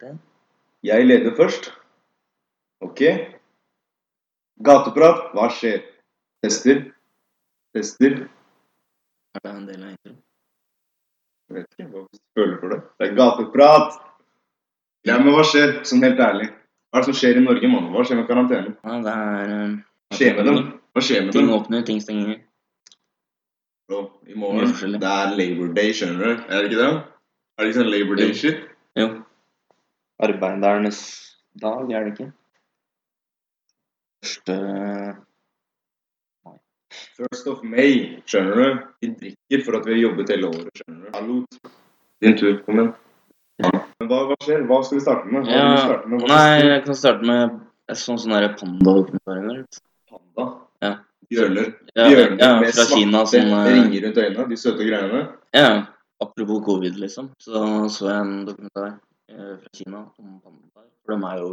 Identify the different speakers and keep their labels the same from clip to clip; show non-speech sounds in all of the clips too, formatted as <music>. Speaker 1: det?
Speaker 2: Jeg leder først. Ok. Gateprat. Hva skjer? Tester. Tester.
Speaker 1: Er det en del av introen?
Speaker 2: Jeg vet ikke hva du føler for det. Det er gateprat! Ja, men hva skjer? Sånn helt ærlig. Hva er det som skjer i Norge, mann? Hva skjer med karantenen?
Speaker 1: Ja, det er um,
Speaker 2: Hva skjer med dem? Hva skjer med
Speaker 1: Ting
Speaker 2: dem?
Speaker 1: åpner, ting stenger.
Speaker 2: Bro, I
Speaker 1: Mye
Speaker 2: morgen
Speaker 1: forskjellig.
Speaker 2: det er Labor Day, skjønner du? Er det ikke det? Er det ikke sånn Labor
Speaker 1: Jo.
Speaker 2: Day-shit?
Speaker 1: Jo.
Speaker 3: Arbeidernes dag, er det ikke?
Speaker 1: Første
Speaker 2: First of May, skjønner du? Vi drikker for at vi har jobbet hele året, skjønner du? Hallo. Din tur, kom igjen. Men hva, hva skjer? Hva skal vi starte med? Hva
Speaker 1: ja,
Speaker 2: vil du starte med? Hva
Speaker 1: Nei,
Speaker 2: skal vi-
Speaker 1: jeg kan starte med en sånn sånn derre pandadokumentarer.
Speaker 2: Panda.
Speaker 1: Ja.
Speaker 2: Bjørner.
Speaker 1: Ja,
Speaker 2: Bjørner
Speaker 1: ja,
Speaker 2: med
Speaker 1: fra
Speaker 2: svarte
Speaker 1: Kina som eh,
Speaker 2: ringer rundt øynene, de søte greiene.
Speaker 1: Ja, apropos covid, liksom. Så så jeg en dokumentar eh, fra Kina om pandaer. For de er jo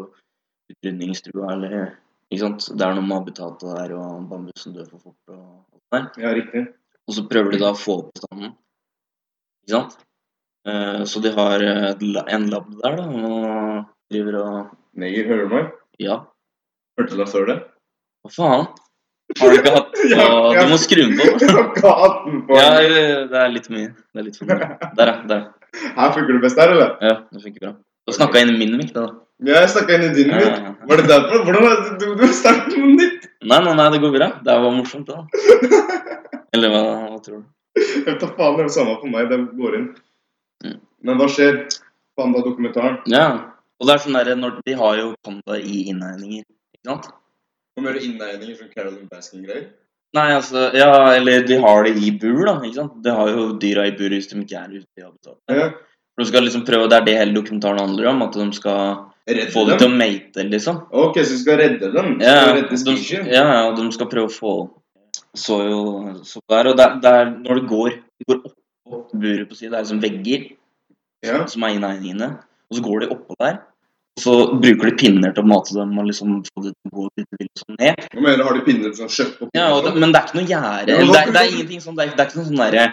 Speaker 1: utrydningstrua, eller Ikke sant. Det er noe med habitatet der, og bambusen dør for fort og alt der.
Speaker 2: Ja, riktig.
Speaker 1: Og så prøver de da å få opp bestanden. Ikke sant? Eh, Så de har eh, et la- en lab der, da, og driver og
Speaker 2: Neger, hører du meg?
Speaker 1: Ja,
Speaker 2: Hørte du deg før det?
Speaker 1: hva faen? Har du ikke hatt
Speaker 2: <laughs> Ja,
Speaker 1: og
Speaker 2: ja.
Speaker 1: Du må skru den på.
Speaker 2: <laughs> Som katten på.
Speaker 1: Ja, eller, det er litt mye. Det er litt for mye. Der, ja. Der.
Speaker 2: Her funker det best her, eller?
Speaker 1: Ja, det funker bra. Du snakka inn i min mic, da.
Speaker 2: Ja, jeg snakket inn i dynet mitt.
Speaker 1: Ja.
Speaker 2: Var det derfor? Hvordan er det? Du, du startet noe nytt?
Speaker 1: Nei, nei, nei, det går bra. Det var morsomt, da.
Speaker 2: <laughs>
Speaker 1: Eller hva, hva tror du?
Speaker 2: Jeg vet da faen, det er det samme for meg. Det går inn.
Speaker 1: Mm.
Speaker 2: Men hva skjer? Panda-dokumentaren.
Speaker 1: Ja. Og det er sånn der, når De har jo panda i innhegninger, ikke sant?
Speaker 2: Kommer det innegninger som Carolyn Baskin-greier?
Speaker 1: Nei, altså, ja, eller de har det i bur, da. ikke sant? De har jo dyra i bur hvis de ikke er ute i habitatet.
Speaker 2: Ja.
Speaker 1: For du skal liksom prøve, Det er det hele dokumentaren handler om, at de skal
Speaker 2: Redde
Speaker 1: få det
Speaker 2: dem?
Speaker 1: til å mate, liksom.
Speaker 2: Ok, så du skal redde dem? Du
Speaker 1: Ja,
Speaker 2: skal redde
Speaker 1: de,
Speaker 2: species?
Speaker 1: ja, ja, og de skal prøve å få Så jo så der, og det er- det er når det går De går oppå buret på siden, det er liksom vegger
Speaker 2: Ja.
Speaker 1: som er innhegninger, og så går de oppå der. Og så bruker de pinner til å mate dem og liksom få det til å gå litt vilt sånn ned.
Speaker 2: Hva mener du, har de pinner sånn? som kjøtt på?
Speaker 1: Ja, og det, men det er ikke noe gjerde.
Speaker 2: Ja,
Speaker 1: eller Det, er- det
Speaker 2: hvorfor-
Speaker 1: er ingenting sånn, det er, det er ikke noe sånn derre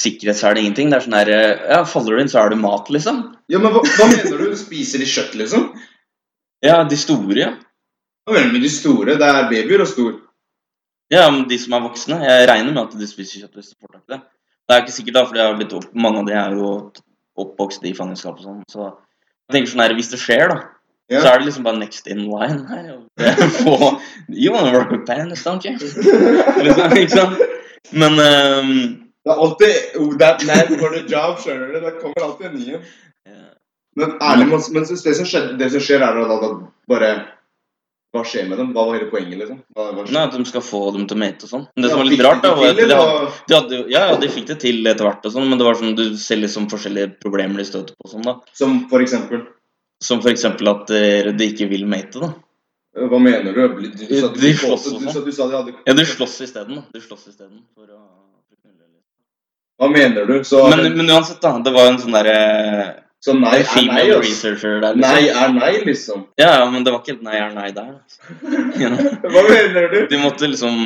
Speaker 1: sikkerhetshæl, det er ingenting. Det er sånn derre Ja, faller du inn, så er du mat, liksom.
Speaker 2: Ja, men hva, hva mener du? Spiser de kjøtt, liksom?
Speaker 1: Ja, de store, ja.
Speaker 2: Hva mener du med de store? Det er babyer og stor. <laughs>
Speaker 1: Ja, men de som er voksne. Jeg regner med at de spiser kjøtt hvis de får tak i det. Det er ikke sikkert, da, for det har blitt opp, mange av de er jo oppvokst i fangenskap og sånn. Så jeg tenker sånn her, hvis det skjer, da,
Speaker 2: Ja.
Speaker 1: så er det liksom bare next in line her. og det er <laughs> Få You wanna rock a band, don't you? Liksom, ikke sant? Men ehm,
Speaker 2: Det er alltid oh, that man for the job, skjønner du? Det kommer alltid en ny en.
Speaker 1: ja.
Speaker 2: Men ærlig, men, men så det, som skjedde, det som skjer, er da, da, da bare Hva skjer med dem? Hva var hele poenget, liksom? Hva, hva
Speaker 1: Nei,
Speaker 2: skjer?
Speaker 1: at de skal få dem til å mate og sånn. Men det som
Speaker 2: Ja,
Speaker 1: var litt
Speaker 2: fikk de
Speaker 1: rart, da, var
Speaker 2: det
Speaker 1: at
Speaker 2: til,
Speaker 1: de hadde,
Speaker 2: eller?
Speaker 1: de hadde, jo- ja, ja, de fikk det til etter hvert og sånn, men det var sånn, du ser liksom forskjellige problemer de støter på og sånn, da.
Speaker 2: Som for eksempel
Speaker 1: Som for eksempel at eh, de ikke vil mate, da.
Speaker 2: eh, Hva mener du? Du, du, sa, du,
Speaker 1: De
Speaker 2: du,
Speaker 1: slåss og
Speaker 2: du,
Speaker 1: sånn.
Speaker 2: sa, du sa de hadde
Speaker 1: Ja, du slåss isteden, da. Du slåss isteden for å
Speaker 2: Hva mener du? Så,
Speaker 1: men, men uansett, da. Det var en sånn derre
Speaker 2: så nei er nei,
Speaker 1: female
Speaker 2: altså.
Speaker 1: researcher der.
Speaker 2: Nei
Speaker 1: Liksom.
Speaker 2: er nei, liksom.
Speaker 1: Ja, ja, men det var ikke helt nei er nei der. Altså. <laughs>
Speaker 2: Hva mener du?
Speaker 1: De måtte liksom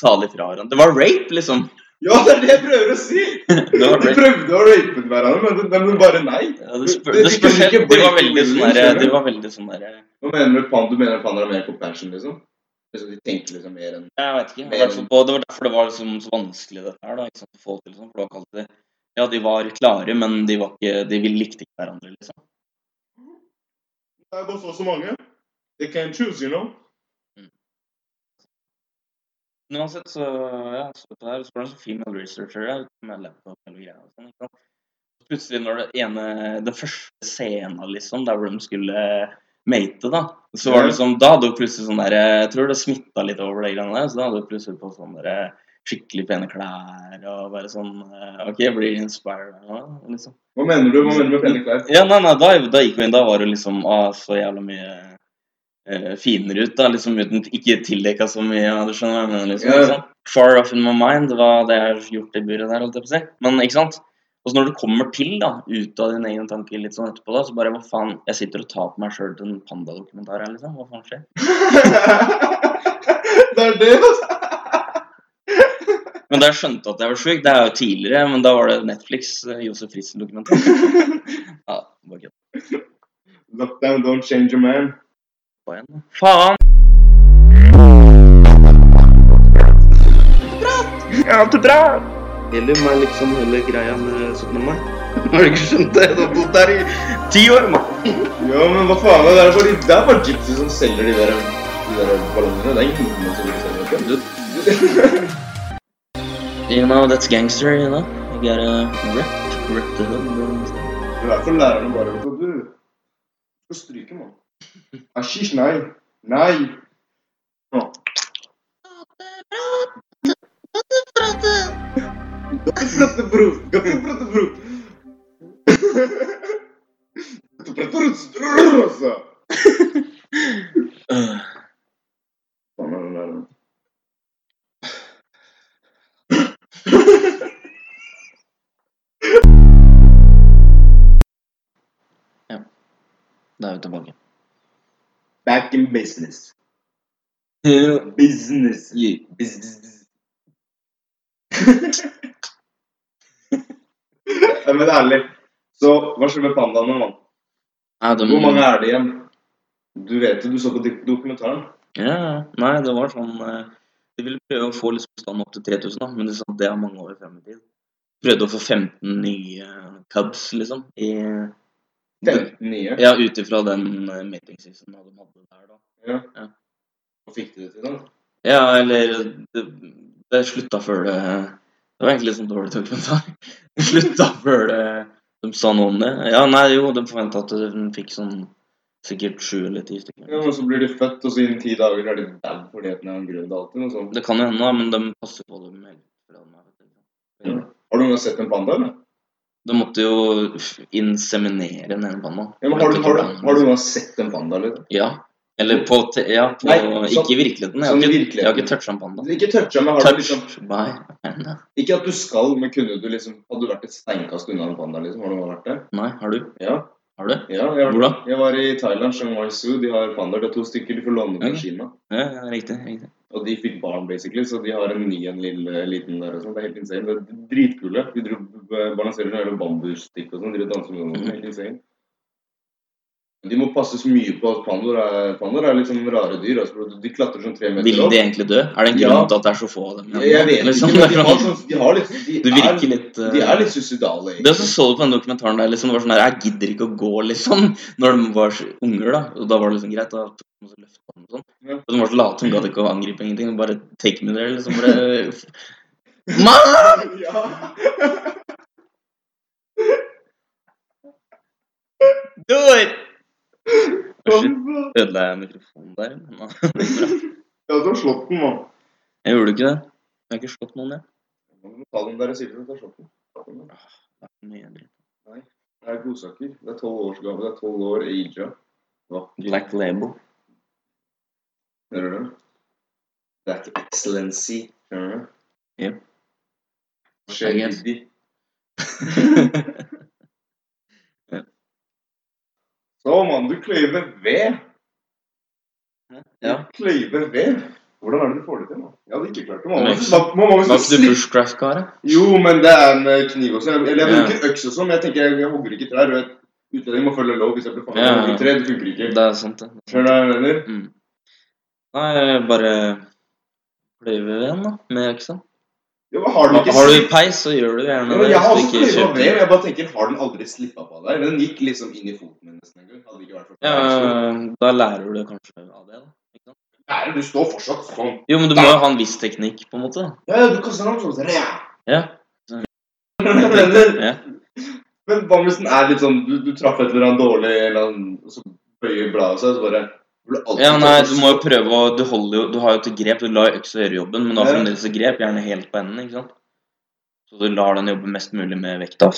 Speaker 1: tale ifra hverandre. Det var rape, liksom. <laughs>
Speaker 2: Ja, det er det jeg prøver å si!
Speaker 1: Det var
Speaker 2: De
Speaker 1: rape.
Speaker 2: prøvde å rape hverandre, men, de- men bare nei.
Speaker 1: Ja, det spør, det spør, de var veldig sånn derre De var veldig sånn derre
Speaker 2: Hva mener du? Pan, du mener Panda er mer compassion, liksom? Liksom, De tenker liksom mer enn
Speaker 1: Jeg vet ikke. Jeg har vært så på, det var derfor det var liksom så vanskelig dette her. da, ikke sant, å få til sånn, for det var ikke alltid, Ja, de var klare, men de, var ikke, de ville- likte ikke hverandre, liksom.
Speaker 2: Det er bare så så mange. They can choose, you know.
Speaker 1: Men uansett, så ja, så det her, så var det en sånn female researcher der med laptop og hele greia. og sånn, ikke sant? Plutselig, når det ene, den første scenen liksom, der hvor de skulle eh, mate, da, så var det liksom, da hadde jo plutselig sånn der, jeg tror det smitta litt over det greiene der, så da hadde jo plutselig på sånn der skikkelig pene klær og bare sånn eh, OK, jeg blir inspired. Ja, liksom.
Speaker 2: Hva mener du? Hva mener du med pene klær?
Speaker 1: Ja, nei, nei, da, da gikk vi inn, da var det liksom ah, så jævla mye eh, finere ut, da, liksom uten Ikke tildekka så mye, ja, du skjønner hva jeg mener, liksom.
Speaker 2: Ja.
Speaker 1: ikke sant? Far off in my mind var det jeg har gjort i buret der, holdt jeg på å si. Men ikke sant? Og så når du kommer til, da, ut av dine egne tanker litt sånn etterpå, da, så bare hva faen Jeg sitter og tar på meg sjøl den pandadokumentaren her, liksom. Hva faen skjer?
Speaker 2: <laughs> det er det, altså.
Speaker 1: Men da jeg skjønte at jeg var sjuk, det er jo tidligere, men da var det Netflix, eh, Josef Fritzen-dokumentar. ja, det var gøy.
Speaker 2: Lockdown don't change a man.
Speaker 1: På igjen, da. Faen! Jeg har hatt det bra!
Speaker 3: Gjelder meg liksom hele greia med 17. mai. Har du ikke skjønt det? Du har bodd der i
Speaker 1: Ti år, mann!
Speaker 2: Ja, men hva faen? Det er bare, det er bare gypsy som selger de der, de der ballongene. Det er ingen nordmenn som selger dem.
Speaker 1: You know, that's gangster, you know. You gotta rip, rip eh, the hood. bro.
Speaker 2: Det er derfor lærerne bare vet at du skal stryke, mann. Ashish, nei. Nei. Nå. Prate, bro. Prate, prate, bro. Prate, prate, bro, altså.
Speaker 1: Øh,
Speaker 2: Faen, er den der, da.
Speaker 1: Da er vi tilbake.
Speaker 2: Back in business.
Speaker 1: Yeah.
Speaker 2: Business. Yeah. Business. Nei, <laughs> Men ærlig, så hva skjer med pandaene, mann?
Speaker 1: Nei, de-
Speaker 2: Hvor mange er det igjen? Du vet jo, du så på dok- dokumentaren.
Speaker 1: Ja, ja. nei, det var sånn eh, De ville prøve å få liksom bestanden opp til 3000, da, men de sa at det er mange år frem i tid. Prøvde å få 15 nye eh, cubs, liksom. I,
Speaker 2: 15 nye.
Speaker 1: ja, ut ifra den eh, mating season de hadde der, da.
Speaker 2: Hva fikk du det til, da?
Speaker 1: Ja, eller Det, det slutta før det Det var egentlig litt sånn dårlig dokumentar. Det slutta før det De sa noe om det. Ja, nei, jo, de forventa at de fikk sånn sikkert sju eller ti stykker.
Speaker 2: Ja, men Så blir de født, og så innen ti dager er de dau fordi at den er en grønn sånn. alltid. Noe sånt.
Speaker 1: Det kan jo hende, da, men de passer på dem hele tiden.
Speaker 2: Ja. Har du noen gang sett en panda? eller?
Speaker 1: De måtte jo f- inseminere den ene pandaen.
Speaker 2: Ja, men har, du, har, du, har du noen gang sett en panda? eller?
Speaker 1: Ja. Eller på, te- ja, på
Speaker 2: Nei,
Speaker 1: Ikke
Speaker 2: sånn-
Speaker 1: i virkeligheten. Jeg har
Speaker 2: sånn i
Speaker 1: ikke,
Speaker 2: virkeligheten.
Speaker 1: jeg har ikke toucha en panda.
Speaker 2: Ikke toucha, men har du liksom
Speaker 1: Touch by panda.
Speaker 2: Ikke at du skal, men kunne du liksom Hadde du vært et steinkast unna en panda, liksom? Har du vært det?
Speaker 1: Nei, har du?
Speaker 2: Ja.
Speaker 1: Har du?
Speaker 2: ja jeg,
Speaker 1: Hvor da?
Speaker 2: jeg var i Thailand, Chiang Mai Zoo. De har pandaer. Det er to stykker de får låne fra
Speaker 1: Ok.
Speaker 2: Kina.
Speaker 1: Ja, ja, riktig. riktig.
Speaker 2: Og de fikk barn, basically, så de har en ny en lille, liten der og sånn. Det er helt insane. Det er dritkule. De dro, balanserer noen jævla bambusstikk og sånn. De danser med noen. Helt insane. Men De må passe så mye på at pandaer er, pandaer er litt sånn rare dyr. Altså, for de klatrer sånn tre meter
Speaker 1: Vil
Speaker 2: opp.
Speaker 1: de egentlig dø? Er det en
Speaker 2: Ja.
Speaker 1: grunn til at det er så få av dem?
Speaker 2: Jeg vet
Speaker 1: Liksom,
Speaker 2: ikke,
Speaker 1: det
Speaker 2: men
Speaker 1: <laughs>
Speaker 2: de
Speaker 1: er
Speaker 2: har,
Speaker 1: sånn-
Speaker 2: sånn, de har litt de
Speaker 1: det virker
Speaker 2: er,
Speaker 1: litt eh,
Speaker 2: de er litt suicidale,
Speaker 1: Det sånn-
Speaker 2: egentlig.
Speaker 1: som så du på den dokumentaren der, liksom, det var sånn her, jeg gidder ikke å gå, liksom, <laughs> når de var så unger, da. Og da var det liksom greit, da tok de og så løftet dem og sånn.
Speaker 2: Ja.
Speaker 1: Og de var så late, de gadd ikke å angripe ingenting, de bare take me there, liksom, bare... <laughs> Mann!
Speaker 2: <laughs> Ja.
Speaker 1: Do it! Shit, ødela jeg mikrofonen der? men da-
Speaker 2: Ja, du har slått den, mann.
Speaker 1: Jeg gjorde ikke det. Jeg har ikke slått noen, jeg.
Speaker 2: Nå må du ta den der jeg sier til deg, du har slått den.
Speaker 1: Det er mye dritt.
Speaker 2: Det er godsaker. Det er tolv års gave. Det er tolv år i Ija.
Speaker 1: Black label. <laughs>
Speaker 2: Hører du? Det er ikke excellency. Hører du?
Speaker 1: Ja.
Speaker 2: Skjer
Speaker 1: I guess.
Speaker 2: ryddig. Så, mann, du kløyver ved.
Speaker 1: Ja.
Speaker 2: Du kløyver ved. Hvordan er det du får det til, mann? Jeg hadde ikke klart det,
Speaker 1: Men-
Speaker 2: mann. Man- man må jo
Speaker 1: Var ikke du
Speaker 2: slippe-
Speaker 1: bushcraft-karet?
Speaker 2: Jo, men det er en eh, kniv også. Jeg- Eller jeg
Speaker 1: Ja.
Speaker 2: bruker øks og sånn. men Jeg tenker jeg, jeg hogger ikke trær. og jeg- Utlending må følge lov hvis jeg blir fanget.
Speaker 1: Ja.
Speaker 2: Jeg hogger tre, det funker ikke.
Speaker 1: Det er sant, det.
Speaker 2: Skjønner du hva jeg mener?
Speaker 1: Mm. Nei, jeg bare kløyver veden, da, med øksa.
Speaker 2: Ja, men har den ikke
Speaker 1: Har du
Speaker 2: slipp-
Speaker 1: peis, så gjør du
Speaker 2: Ja,
Speaker 1: gjerne
Speaker 2: men
Speaker 1: det.
Speaker 2: Jeg har
Speaker 1: hvis du
Speaker 2: også
Speaker 1: ikke
Speaker 2: kløyva
Speaker 1: kjøper-
Speaker 2: vev. Jeg bare tenker, har den aldri slippa på deg? Den gikk liksom inn i foten min nesten en gang. Hadde det ikke vært for
Speaker 1: Ja, da lærer du kanskje av det, da. Ikke sant?
Speaker 2: Nei, du står fortsatt sånn.
Speaker 1: Jo, men du må jo ha en viss teknikk, på en måte. da.
Speaker 2: Ja, ja, du kaster den sånn. sånn, ja.
Speaker 1: Ja.
Speaker 2: Skjønner du hva jeg mener?
Speaker 1: Ja.
Speaker 2: Men hva om hvis den er litt sånn Du, du traff et eller annet dårlig, eller annen- og så bøyer bladet seg, og så bare burde alltid sånn.
Speaker 1: Ja, nei,
Speaker 2: kaste-
Speaker 1: du må jo prøve å Du holder jo Du har jo til grep. Du lar øksa gjøre jobben, men du har
Speaker 2: Ja.
Speaker 1: fremdeles et grep, gjerne helt på enden, ikke sant? Så du lar den jobbe mest mulig med vekta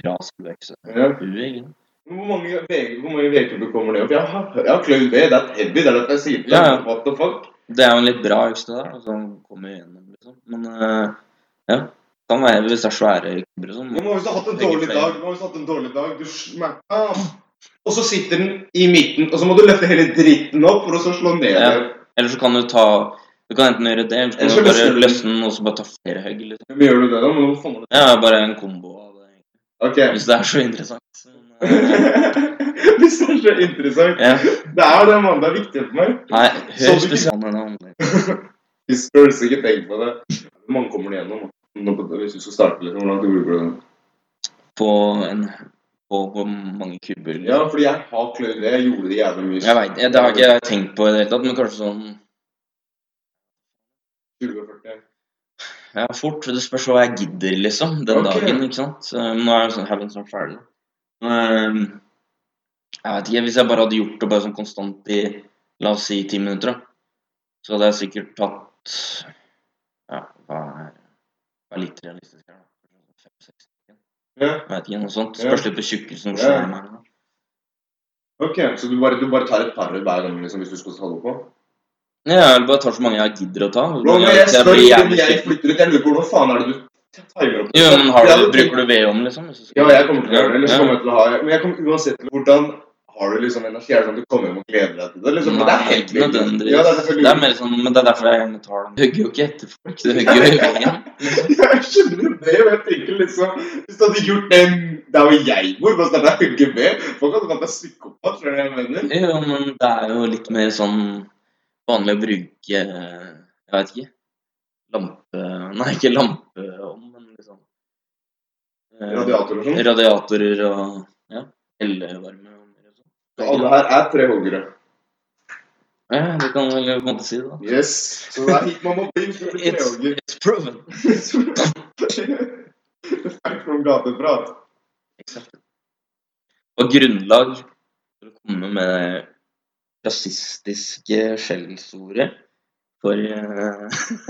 Speaker 1: fra skruøksa.
Speaker 2: ja.
Speaker 1: Ja,
Speaker 2: Hvor mange VG hvor mange VG-klubber kommer det opp? Jeg har, jeg har kløyvd det. Det er heavy. Det er derfor jeg sier det.
Speaker 1: Ja, ja.
Speaker 2: What the fuck?
Speaker 1: Det er jo en litt bra økse der, da, som kommer gjennom, liksom. Men eh, ja. Kan være hvis det er svære kubber og sånn.
Speaker 2: Men hvis du har hatt en
Speaker 1: Begge
Speaker 2: dårlig
Speaker 1: flere.
Speaker 2: dag, hva hvis du har hatt en dårlig dag du smakka. Og så sitter den i midten, og så må du løfte hele dritten opp for å så slå ned
Speaker 1: Ja.
Speaker 2: igjen.
Speaker 1: Eller så kan du ta Du kan enten gjøre det, eller så kan
Speaker 2: Eller så
Speaker 1: du bare
Speaker 2: løsner du.
Speaker 1: løsne den og så bare ta flere høgg. Liksom.
Speaker 2: Men Gjør du det, da? Men hva faen er det?
Speaker 1: Ja, bare en kombo av det,
Speaker 2: Ok. <laughs>
Speaker 1: hvis det er så interessant. Men, eh,
Speaker 2: hvis det er så interessant.
Speaker 1: Ja.
Speaker 2: Det er det, mann. Det er viktig for meg.
Speaker 1: Nei,
Speaker 2: Så
Speaker 1: hør
Speaker 2: du-
Speaker 1: spesialen hennes.
Speaker 2: Hvis Spurs ikke tenker på det Hvor mange kommer det gjennom? da? Nå- Hvis du skal starte litt, hvordan bruker du den?
Speaker 1: På en på hvor mange kubber.
Speaker 2: Ja, fordi jeg har kløyd det. Jeg gjorde det jævlig mye.
Speaker 1: Jeg veit, det har ikke jeg tenkt på i det hele tatt, men kanskje sånn
Speaker 2: 20-40.
Speaker 1: ja, fort. Det spørs hva jeg gidder, liksom, den
Speaker 2: Ok.
Speaker 1: dagen. ikke sant? Så, nå er det sånn, jeg er snart ferdig. Men, ehm, jeg vet ikke, Hvis jeg bare hadde gjort det bare sånn konstant i la oss si ti minutter, da, så hadde jeg sikkert tatt ja, hva er, hva er litt realistisk her, da? Fem-seks stykker?
Speaker 2: Ja.
Speaker 1: Jeg vet ikke, noe sånt.
Speaker 2: Ja.
Speaker 1: Spørs litt på tjukkelsen. hvor
Speaker 2: Ja.
Speaker 1: svær den er, da.
Speaker 2: Ok, så du bare, du bare tar et par hver gang liksom, hvis du skal holde på?
Speaker 1: Ja, eller bare tar så mange jeg gidder å ta.
Speaker 2: Bro, men
Speaker 1: Jeg-
Speaker 2: jeg
Speaker 1: jeg
Speaker 2: spør
Speaker 1: blir
Speaker 2: ikke om
Speaker 1: jævlig
Speaker 2: jeg
Speaker 1: sliten.
Speaker 2: flytter ut. Jeg lurer på hvordan faen er det du timer opp?
Speaker 1: Jo, men har
Speaker 2: For jeg
Speaker 1: du,
Speaker 2: hadde tenkt-
Speaker 1: bruker du vedovnen, liksom? hvis du skal-
Speaker 2: Ja, jeg kommer til å gjøre det. Eller så
Speaker 1: Ja.
Speaker 2: kommer jeg til å ha Men jeg kommer uansett til Hvordan har du liksom energi? Er det sånn at du kommer hjem og gleder deg til det? Liksom? Men det er
Speaker 1: Nei,
Speaker 2: helt
Speaker 1: ikke nødvendigvis.
Speaker 2: Ja, det er
Speaker 1: det er
Speaker 2: selvfølgelig
Speaker 1: mer sånn, men det er derfor jeg gjerne tar den. Du hugger jo ikke etter folk, du hugger jo i veggen.
Speaker 2: <laughs> Jeg skjønner jo det, og jeg tenker liksom Hvis du hadde gjort det der hvor jeg bor, da starta jeg å hugge med Folk hadde kalt deg psykopat, skjønner du hva jeg mener?
Speaker 1: Jo, men det er jo litt mer sånn vanlig å bruke eh, Jeg vet ikke. Lampe Nei, ikke lampeovn, men liksom eh,
Speaker 2: Radiatorer og sånn.
Speaker 1: Radiatorer og ja, elvarme. og sånn.
Speaker 2: Så alle her er tre hoggere.
Speaker 1: Ja, det kan man vel på en måte si, da.
Speaker 2: Yes. Så det er hit man må bli hvis du blir
Speaker 1: It's,
Speaker 2: <laughs> trehogger.
Speaker 1: it's proven.
Speaker 2: Takk for om gateprat.
Speaker 1: Exakt. Og grunnlag for å komme med rasistiske skjellsordet for eh, <laughs>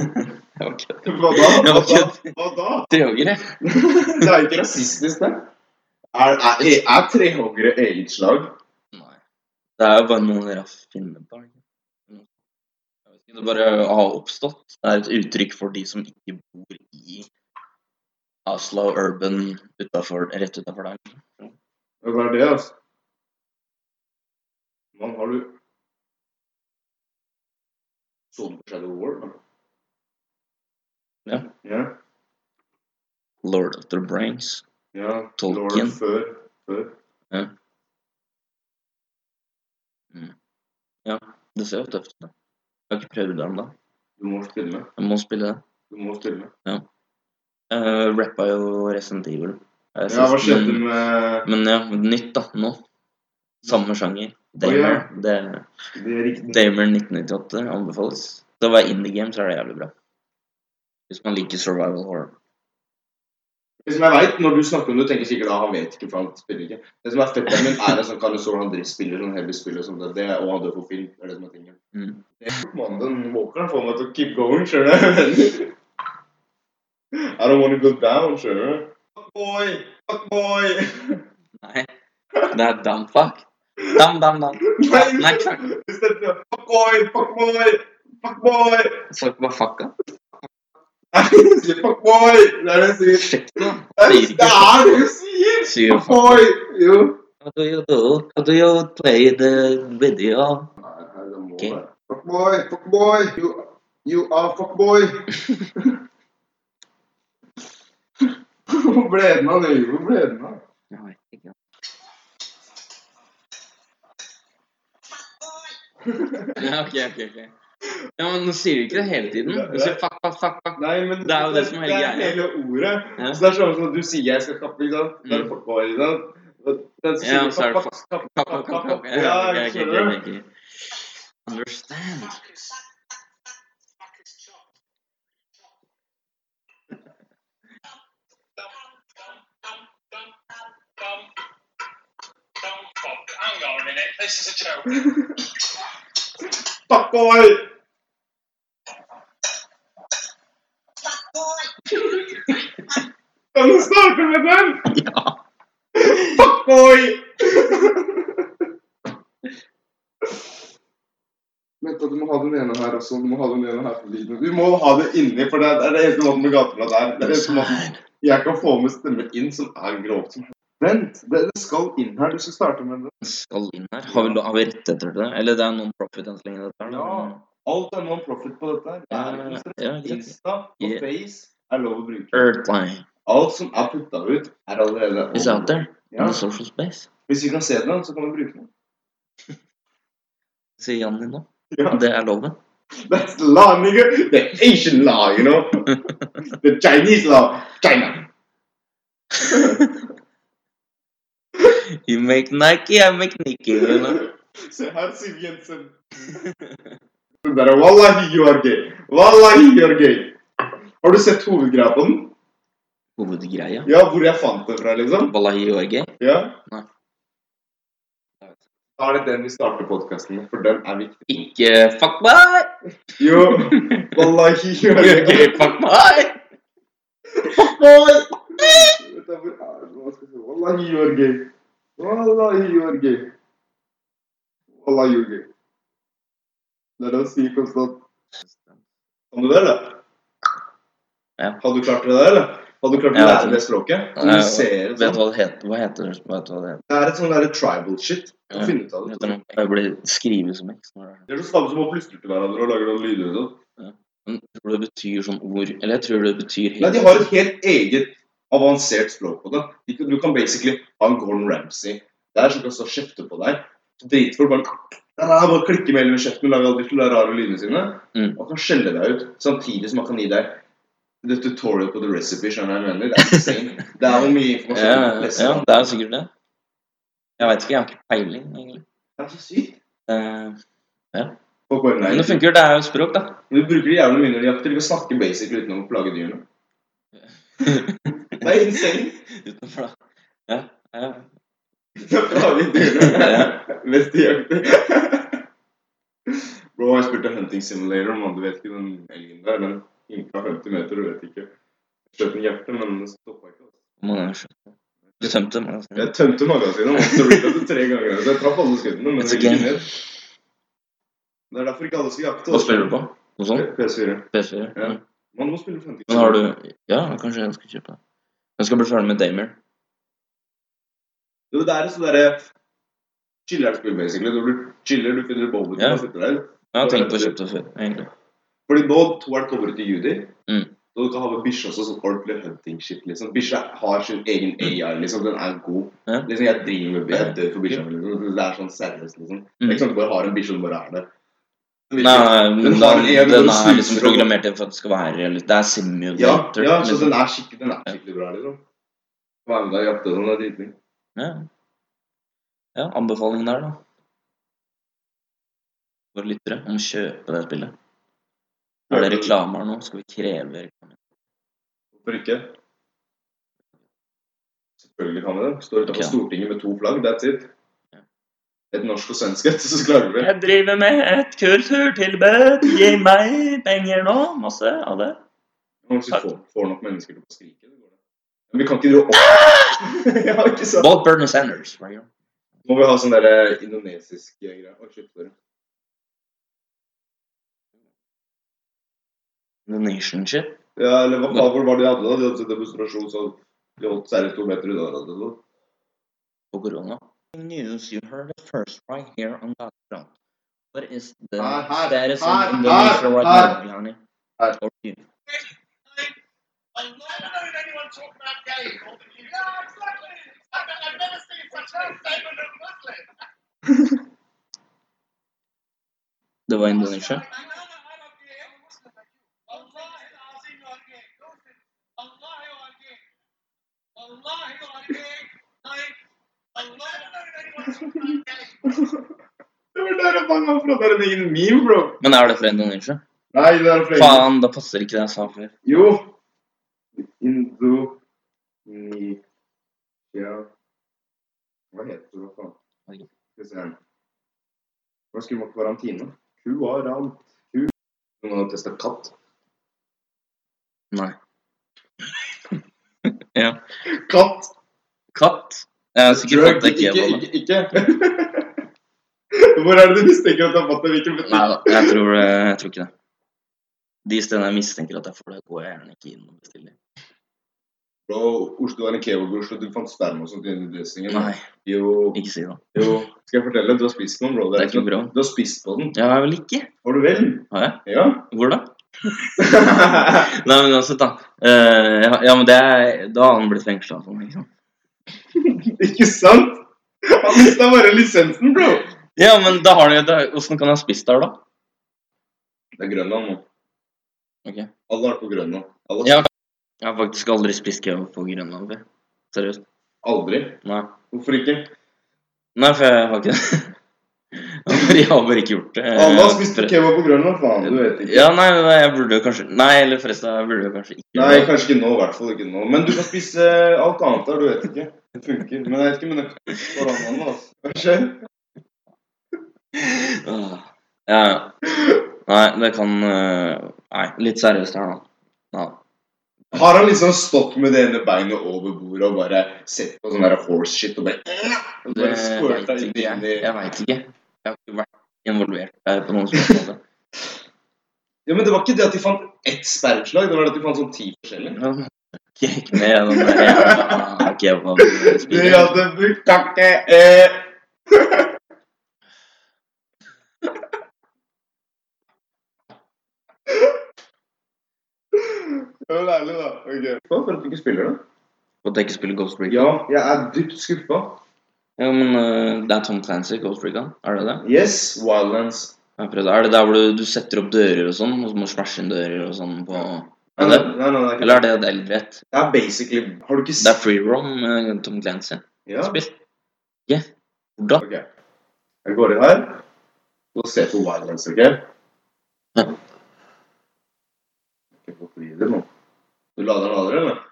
Speaker 1: Jeg var ikke
Speaker 2: Hva da?
Speaker 1: Det
Speaker 2: Hva
Speaker 1: var
Speaker 2: da?
Speaker 1: ikke-
Speaker 2: Hva da?
Speaker 1: trehoggere.
Speaker 2: Det er jo ikke rasistisk, det. Er, er, er trehoggere eget slag?
Speaker 1: Nei. Det er jo bare noen raff finner på. ikke? Jeg vet ikke, Det bare har oppstått. Det er et uttrykk for de som ikke bor i Oslo Urban utenfor, rett utafor der.
Speaker 2: Ja, Hva er det, altså? Man har du Så du på Shadow War? da?
Speaker 1: Ja.
Speaker 2: Ja.
Speaker 1: Lord of the Brains.
Speaker 2: ja.
Speaker 1: Tolkien.
Speaker 2: Lord Før. før.
Speaker 1: Det ser jo tøft ut. da. Jeg har ikke prøvd det ennå.
Speaker 2: Du må spille med.
Speaker 1: Jeg må spille det.
Speaker 2: Du må spille med.
Speaker 1: Uh, rappa jo Resident Evil. Jeg
Speaker 2: Ja, hva
Speaker 1: synes
Speaker 2: skjedde
Speaker 1: den-
Speaker 2: med
Speaker 1: Men ja, nytt da, nå. Samme sjanger. Damer. det,
Speaker 2: det riktige
Speaker 1: Damer 1998 anbefales. Til å være indie game så er det jævlig bra. Hvis man liker survival horror.
Speaker 2: Det som jeg vet, når du snakker om det, tenker jeg sikkert at han vet ikke, for han spiller ikke. Det som er fetteren min, er en sånn Kalle Sol, han driver- spiller sånn heavy spill og sånt, det- det, og han dør for film. Det er det som er tingen.
Speaker 1: Mm.
Speaker 2: Det er mannen, den walkeren får meg til å keep going, skjønner du? <laughs> I don't wanna go down, skjønner du? Fuck boy! Fuck boy!
Speaker 1: Nei, det er damn fuck. Damn, damn, damn. Nei, fuck.
Speaker 2: <laughs> Hvis det er fuck boy! Fuck boy! Fuck boy!
Speaker 1: Så ikke bare fucka.
Speaker 2: Nei, jeg sier fuck boy! Det er det jeg sier.
Speaker 1: Sjekk det, da.
Speaker 2: Det er
Speaker 1: Sier ikke
Speaker 2: det er det du sier!
Speaker 1: Sier
Speaker 2: Fuck
Speaker 1: fuck.
Speaker 2: boy! Jo.
Speaker 1: How do you do? How do you play the video? Ok.
Speaker 2: Fuck boy! Fuck boy! You, you are fuck boy! <laughs> Hvor ble den av, Nøyve? Hvor ble den av?
Speaker 1: Jeg vet ikke. <laughs> Ja, ok, ok, ok. Ja, men nå sier du ikke det hele tiden. Du sier fuck, fuck, fuck, fuck.
Speaker 2: Nei, men
Speaker 1: Det er jo det som er hele
Speaker 2: det
Speaker 1: greia.
Speaker 2: hele ordet.
Speaker 1: Ja.
Speaker 2: Så det er sånn som at du sier jeg skal kappe, ikke sant? Da er det
Speaker 1: Mm.
Speaker 2: fuck boy, ikke sant? Den som
Speaker 1: Ja,
Speaker 2: sier
Speaker 1: så er det
Speaker 2: kapp, kapp,
Speaker 1: Fuck, fuck, fuck, fuck.
Speaker 2: Ja,
Speaker 1: Ja, ok, ok,
Speaker 2: skjønner
Speaker 1: ok, ok. Understand.
Speaker 4: Hang on a minute, this is a joke.
Speaker 2: du. Fuck boy! Kan du snakke med den?
Speaker 1: Ja.
Speaker 2: Fuck boy! Vent da, du må ha den ene her også. Du må ha den ene her på lyden. Du må ha det inni, for det er det er det eneste måten med gateprat er. Det er det eneste måten jeg kan få med stemmer inn som er grovt som Vent, det, det skal inn her. Du skal starte med det.
Speaker 1: Skal inn her. Har vi, lo- har vi rett etter det? Eller det er noen profit enn så lenge dette er da.
Speaker 2: Ja. Alt er non-profit på dette. her. Det er ikke noe stress.
Speaker 1: Ja, ja, ja.
Speaker 2: Insta og
Speaker 1: Yeah.
Speaker 2: Face er lov å bruke.
Speaker 1: Earthline.
Speaker 2: Alt som er putta ut, er allerede
Speaker 1: Is out there? In
Speaker 2: Ja.
Speaker 1: the social space?
Speaker 2: Hvis vi kan se den, så kan vi bruke den.
Speaker 1: Sier Janni nå.
Speaker 2: Ja.
Speaker 1: Det er loven.
Speaker 2: That's the law, nigga. The Asian law, you know. the Chinese law. China.
Speaker 1: You make Nike, I make Nike. You know?
Speaker 2: Så her sier Jensen. Den der, Wallahi, you are gay. Wallahi, you are gay. Har du sett hovedgreia på den?
Speaker 1: Hovedgreia.
Speaker 2: Ja, hvor jeg fant det fra, liksom?
Speaker 1: Wallahi Jorge.
Speaker 2: Ja.
Speaker 1: Nei.
Speaker 2: Da er det den vi starter podkasten med, for den er viktig.
Speaker 1: Ikke fuck meg!
Speaker 2: Jo, wallahi, you are
Speaker 1: Jorge,
Speaker 2: gay.
Speaker 1: fuck meg!
Speaker 2: Vet du, hvor er det? Hva skal jeg si? Wallahi, you are gay. Wallahi, you are gay. Wallahi, you are gay. Det er det han sier konstant. Kan du det, eller?
Speaker 1: Ja.
Speaker 2: Hadde du klart det der, eller? Hadde du klart å
Speaker 1: Jeg vet
Speaker 2: lære
Speaker 1: ikke.
Speaker 2: det språket? Som
Speaker 1: Nei,
Speaker 2: du ser
Speaker 1: Vet
Speaker 2: det
Speaker 1: du
Speaker 2: sånn.
Speaker 1: hva det heter? Hva heter det? Vet du hva det heter?
Speaker 2: Det er et sånn derre tribal shit. Du
Speaker 1: Ja.
Speaker 2: må finne ut av
Speaker 1: Vet du
Speaker 2: det.
Speaker 1: noe? Jeg blir skrevet som X. når det er- sånn.
Speaker 2: Det er så stamme som å plystre til hverandre og lage noen lyder og sånn.
Speaker 1: Men jeg tror det betyr sånn ord Eller jeg tror det betyr
Speaker 2: Nei, de har et helt eget avansert språk på det. De kan- Du kan basically ha en Gordon Ramsay der som kan stå og kjefte på deg. Dritfolk bare, ah, bare klikke med hele kjeften og lage alle de tulla rare lydene sine.
Speaker 1: Mm.
Speaker 2: Og kan skjelle deg ut, samtidig som han kan gi deg the tutorial på the recipe. skjønner du hva jeg mener? Det er insane. Det er hvor
Speaker 1: Ja,
Speaker 2: mye informasjon du
Speaker 1: ja,
Speaker 2: kan lese.
Speaker 1: ja, det er sikkert det. Jeg veit ikke, jeg har ikke peiling, egentlig.
Speaker 2: Det er så sykt.
Speaker 1: Eh,
Speaker 2: Folk bare, nei,
Speaker 1: Men det funker, det er jo språk, da.
Speaker 2: Men Du bruker det jævlig mye når de jakter. De kan snakke basically uten å plage dyrene.
Speaker 1: <laughs>
Speaker 2: Det er insane.
Speaker 1: Utenfor, da. Ja, ja.
Speaker 2: Da plager dyrene mens de jakter. Bro, jeg spilte Hunting Simulator om han, du vet ikke den elgen der, den hinka 50 meter, du vet ikke. Skjøt en hjerte, men den stoppa ikke. altså.
Speaker 1: Må jeg skjønne. Du tømte meg. altså.
Speaker 2: Jeg tømte magasinet og måtte reloade tre ganger. Så jeg traff alle skuddene, men
Speaker 1: It's
Speaker 2: det
Speaker 1: a
Speaker 2: gikk
Speaker 1: game.
Speaker 2: ikke ned. Det er derfor ikke alle skal jakte.
Speaker 1: Hva spiller du på? Noe sånt?
Speaker 2: PS4.
Speaker 1: PS4?
Speaker 2: Ja.
Speaker 1: Mm.
Speaker 2: Man må spille Hunting
Speaker 1: Men har du Ja, kanskje jeg skal kjøpe det. Jeg skal bli ferdig med Damer.
Speaker 2: Jo, det er et sånt derre chillerspill, basically. Du blir chiller, du finner bobbet
Speaker 1: Ja.
Speaker 2: og sitter der.
Speaker 1: Jeg har tenkt på å kjøpe det før, egentlig.
Speaker 2: Fordi nå toeren kommer ut i juni.
Speaker 1: Mm.
Speaker 2: Så du kan ha med bikkja også, sånn ordentlig hunting shit, liksom. Bikkja har sin egen AI, liksom. Den er god.
Speaker 1: Ja. Mm.
Speaker 2: Liksom, jeg driver med Jeg dør for bikkja mi, liksom. Det er sånn seriøst, liksom. Det er ikke sånn at du bare har en bikkje som bare er der. Den
Speaker 1: Nei,
Speaker 2: virker-
Speaker 1: men
Speaker 2: Den har
Speaker 1: den,
Speaker 2: en
Speaker 1: den
Speaker 2: som
Speaker 1: er liksom
Speaker 2: snuser og-
Speaker 1: programmert til for at det skal være litt Det er simulator.
Speaker 2: Ja, ja, så
Speaker 1: liksom.
Speaker 2: den er skikkelig, den er skikkelig bra, liksom. Være med deg og jakte og sånn, det er dritlig.
Speaker 1: Ja. ja, anbefalingen der, da. Våre lyttere om å kjøpe det spillet. Er det reklame her nå? Skal vi kreve reklame?
Speaker 2: Hvorfor ikke? Selvfølgelig kan vi det. Står utenfor
Speaker 1: Ok.
Speaker 2: Stortinget med to flagg, that's it.
Speaker 1: Ja.
Speaker 2: Et norsk og svensk et, så klarer vi det.
Speaker 1: Jeg driver med et kulturtilbud. Gi meg penger nå. Masse av det.
Speaker 2: Man Kanskje
Speaker 1: Takk.
Speaker 2: får, får nok mennesker til å skrike. det går det. Men vi kan ikke drive opp <laughs> Ja, ikke sant?
Speaker 1: Vote Bernie Sanders. right here.
Speaker 2: Må vi ha sånn derre indonesisk eh, greie? Å, shit, sorry.
Speaker 1: The nation shit.
Speaker 2: Ja, eller hva faen hvor var det de hadde da? De hadde en demonstrasjon sånn De holdt seg litt to meter unna hverandre og sånn.
Speaker 1: på korona. News you heard it first right here on that front. What is the
Speaker 2: Her, her,
Speaker 1: status
Speaker 2: her,
Speaker 1: in Indonesia
Speaker 2: her,
Speaker 1: right
Speaker 2: her.
Speaker 1: now, Johnny?
Speaker 2: Her.
Speaker 1: Or you?
Speaker 4: I've never known anyone talk about gay more than you. Yeah, exactly. I've, I've never seen such a statement of Muslim.
Speaker 1: Det var Indonesia.
Speaker 2: Det var der jeg fanga opp fra! Det er en egen meme, bro!
Speaker 1: Men er det fra Indonesia?
Speaker 2: Nei, det er flere.
Speaker 1: Faen, da passer ikke det jeg sa før.
Speaker 2: Jo! Indo... Ni... Ja Hva heter det, hva faen?
Speaker 1: Ok.
Speaker 2: Skal vi se her. Hva skulle man karantene? Kuarant. Ku... Noen har testa katt.
Speaker 1: Nei. ja.
Speaker 2: Katt!
Speaker 1: Katt? Jeg er sikker på at det ikke er
Speaker 2: ikke,
Speaker 1: bolle.
Speaker 2: ikke, ikke. <laughs> Hvor er det du mistenker at det er fatt i hvilken
Speaker 1: Nei
Speaker 2: butikk?
Speaker 1: da, jeg tror, eh, jeg tror ikke det. De stedene jeg mistenker at jeg får det, går jeg gjerne ikke inn og bestiller.
Speaker 2: Bro, Oslo er en keoburst, og du fant sperma og sånt inni dressingen.
Speaker 1: Nei,
Speaker 2: Jo,
Speaker 1: ikke si det.
Speaker 2: jo. Skal jeg fortelle? Du har spist på den, bro.
Speaker 1: Det er ikke
Speaker 2: sånn-
Speaker 1: bra.
Speaker 2: Du har spist på den.
Speaker 1: Ja, jeg vil ikke.
Speaker 2: Har du vel?
Speaker 1: Har jeg?
Speaker 2: Ja.
Speaker 1: <laughs> Hvor da? Nei, men uansett, da. Eh, ja, ja, men det er, da har han blitt fengsla. Sånn, ikke sant?
Speaker 2: ikke sant? Han mista bare lisensen, bro.
Speaker 1: Ja, men da har de, da, hvordan kan de ha spist der, da?
Speaker 2: Det er Grønland nå.
Speaker 1: Ok.
Speaker 2: Alle har vært på Grønland. Alle,
Speaker 1: Ja. Jeg har faktisk aldri spist kebab på Grønland før. Seriøst.
Speaker 2: Aldri.
Speaker 1: Nei.
Speaker 2: Hvorfor ikke?
Speaker 1: Nei, for jeg har ikke <laughs> det. Jeg har bare ikke gjort det.
Speaker 2: Alle har spist kebab på Grønland, faen. Du vet ikke.
Speaker 1: Ja, nei, nei, jeg burde jo kanskje Nei, eller forresten, jeg burde jo kanskje ikke gjøre
Speaker 2: Nei,
Speaker 1: det.
Speaker 2: kanskje ikke nå, i hvert fall ikke nå. Men du kan spise eh, alt annet der, du vet ikke. Det funker. Men jeg vet ikke med nøkkelen på randene, altså. Hva skjer?
Speaker 1: Åh. Ja, ja. Nei, det kan øh, Nei, litt seriøst her nå. Ja.
Speaker 2: Har han liksom stått med det ene beinet over bordet og bare sett på sånn der horse shit og bare og
Speaker 1: Det
Speaker 2: bare squirta
Speaker 1: vet
Speaker 2: inn
Speaker 1: ikke jeg.
Speaker 2: i
Speaker 1: Jeg vet ikke. Jeg har ikke vært involvert der på noen
Speaker 2: <laughs>
Speaker 1: spørsmål.
Speaker 2: Ja, men det var ikke det at de fant ett sperreslag, det var det at de fant sånn ti forskjellige.
Speaker 1: Jeg gikk med gjennom det jævla
Speaker 2: De
Speaker 1: kebabspikeren.
Speaker 2: hadde brukt takke eh. Det var ærlig, da. Ok. Hva for at du ikke spiller, da?
Speaker 1: Og at jeg ikke spiller Ghost Recon.
Speaker 2: Ja, jeg er dypt skuffa.
Speaker 1: Ja, men øh, det er Tom Clancy, Ghost Recon? Er det det?
Speaker 2: Yes, Wildlands.
Speaker 1: Jeg har prøvd. Er det der hvor du, du setter opp dører og sånn, og så må du smashe inn dører og sånn på
Speaker 2: Nei,
Speaker 1: Er
Speaker 2: nei,
Speaker 1: det?
Speaker 2: nei, nei, det er ikke
Speaker 1: Eller er det et eldrett?
Speaker 2: Det er basically Har du ikke
Speaker 1: Det er free rom med Tom Clancy.
Speaker 2: Ja,
Speaker 1: Spill. Ja. Hvordan?
Speaker 2: ok. Jeg går inn her og ser på Wildlands, ok?
Speaker 1: Ja.
Speaker 2: Ikke gå på videre nå. Du lader den aldri, eller?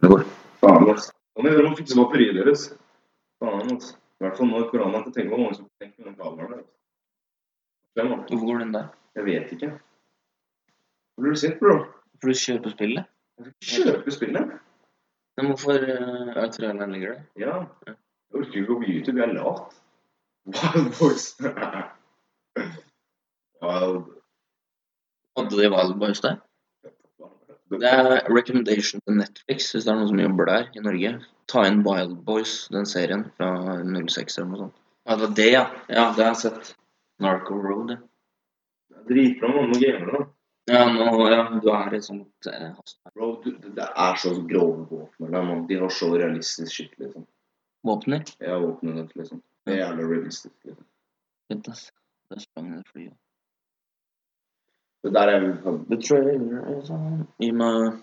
Speaker 1: Det går.
Speaker 2: Faen, ass. Kan dere må fikse batteriet deres? Faen, ass. I hvert fall nå i korona. Jeg tenker på mange som tenker på den kabelen der. Hvem, da?
Speaker 1: Hvorfor går den der?
Speaker 2: Jeg vet ikke. Hvor blir du sint, bro?
Speaker 1: For du kjøper spillet?
Speaker 2: Jeg skal ikke kjøpe spillet.
Speaker 1: Men hvorfor uh, er traileren ligger der?
Speaker 2: Ja. Jeg orker ikke å gå på YouTube. Jeg er <laughs> lat. Wild boys. Wild
Speaker 1: Hadde de Wild Boys der? Det er recommendation til Netflix, hvis det er noen som jobber der i Norge. Ta inn Wild Boys, den serien fra 06 eller noe sånt. Ja, det var det, ja. Ja, det har jeg sett. Narco Road, ja.
Speaker 2: Dritbra med noen gamere, da.
Speaker 1: Ja, nå, ja, du er i et sånt eh, hastverk.
Speaker 2: Bro, du, det det er så grove våpen. eller, mann. De har så realistisk shit, liksom.
Speaker 1: våpener.
Speaker 2: Jeg har våpenet ditt, liksom. Det er jævla realistisk. liksom.
Speaker 1: Vent, ass. Der sprang det flyet.
Speaker 2: Det der er jo
Speaker 1: The trailer is on. Gi meg